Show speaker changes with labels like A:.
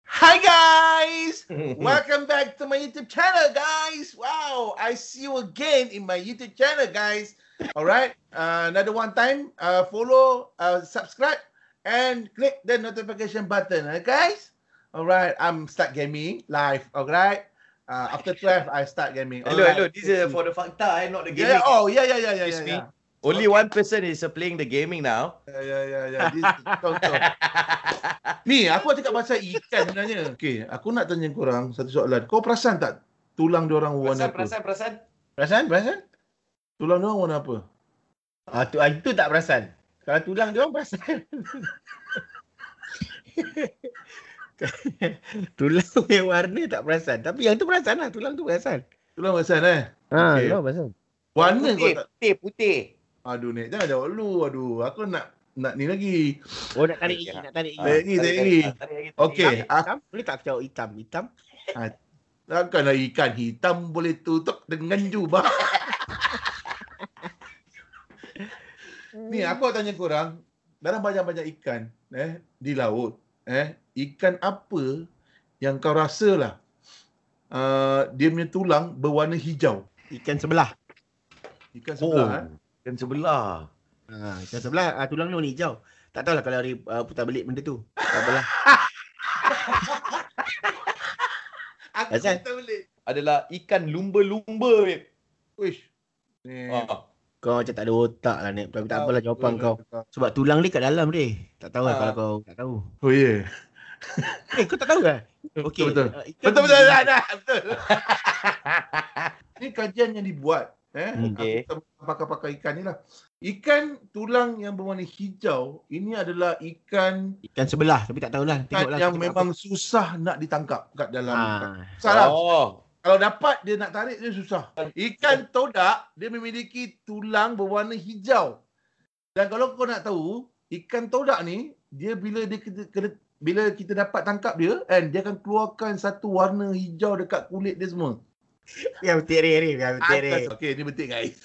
A: Welcome back to my YouTube channel, guys. Wow, I see you again in my YouTube channel, guys. All right, uh, another one time, uh, follow, uh, subscribe, and click the notification button, uh, guys. All right, I'm start gaming live. All right, uh, after 12, I start gaming.
B: hello,
A: Alright.
B: hello. This is for the fakta, eh, not the gaming.
A: Yeah, oh, yeah, yeah, yeah, yeah, yeah,
B: Excuse me.
A: yeah.
B: Only one person is uh, playing the gaming now.
A: Yeah, yeah, yeah, yeah. ya, This is contoh. Ni, aku nak cakap pasal ikan sebenarnya. Okey, aku nak tanya korang satu soalan. Kau perasan tak tulang dia orang warna apa?
C: Perasan, perasan, perasan.
A: Perasan? Perasan? Tulang dia orang warna apa?
C: Ah, tu, ah, itu tak perasan. Kalau tulang dia orang perasan. tulang yang warna tak perasan. Tapi yang tu perasan lah. Tulang tu perasan.
A: Tulang perasan eh?
C: Ha,
A: Okey.
C: tulang perasan.
A: Warna kau
B: putih,
A: tak.
B: putih, putih.
A: Aduh ni, jangan jawab lu. Aduh, aku nak nak ni lagi.
C: Oh, nak tarik gigi,
B: Ah,
C: nak tarik gigi.
A: Tarik ni, tarik ni. Okey, aku
C: Hitam, boleh tak cakap hitam? Hitam?
A: takkanlah lah ikan hitam boleh tutup dengan jubah. Ni aku nak tanya korang, dalam banyak-banyak ikan eh di laut, eh ikan apa yang kau rasa lah uh, dia punya tulang berwarna hijau?
C: Ikan sebelah.
A: Ikan
B: Oh,
A: sebelah oh. eh.
B: kan sebelah.
C: Ha, ikan sebelah, ah, tulang dia warna hijau. Tak tahulah kalau hari uh, putar belik benda tu. Tak apalah.
A: eh. Aku
C: Azan.
A: tak boleh.
B: Adalah ikan lumba-lumba, babe.
A: Wish. Ni.
B: Ah.
C: Kau macam tak ada otak lah, Nek. Tapi Oh, tak apalah jawapan kau. Sebab tulang dia kat dalam dia. Tak tahu lah
B: Ha.
C: kalau kau tak tahu.
A: Oh ya. Yeah.
C: Eh, kau tak tahu kan? Okey.
A: Betul, betul.
C: ah, ikan
A: Betul betul
C: gigi.
A: dah, dah, betul. Ini kajian yang dibuat eh
C: Hmm.
B: Okey.
A: Aku tak pakar-pakar ikan ni lah. Ikan tulang yang berwarna hijau ini adalah ikan
C: Ikan sebelah tapi tak tahulah
A: ikan
C: tengoklah
A: yang
C: kita
A: memang susah nak ditangkap kat dalam. Ha.
C: ha.
A: Salah.
B: Oh.
A: Kalau dapat dia nak tarik dia susah. Ikan todak dia memiliki tulang berwarna hijau. Dan kalau kau nak tahu, ikan todak ni dia bila dia kena, kena bila kita dapat tangkap dia kan dia akan keluarkan satu warna hijau dekat kulit dia semua.
C: yang betik re re yang betik re.
A: Atas. Okey, ni betik guys.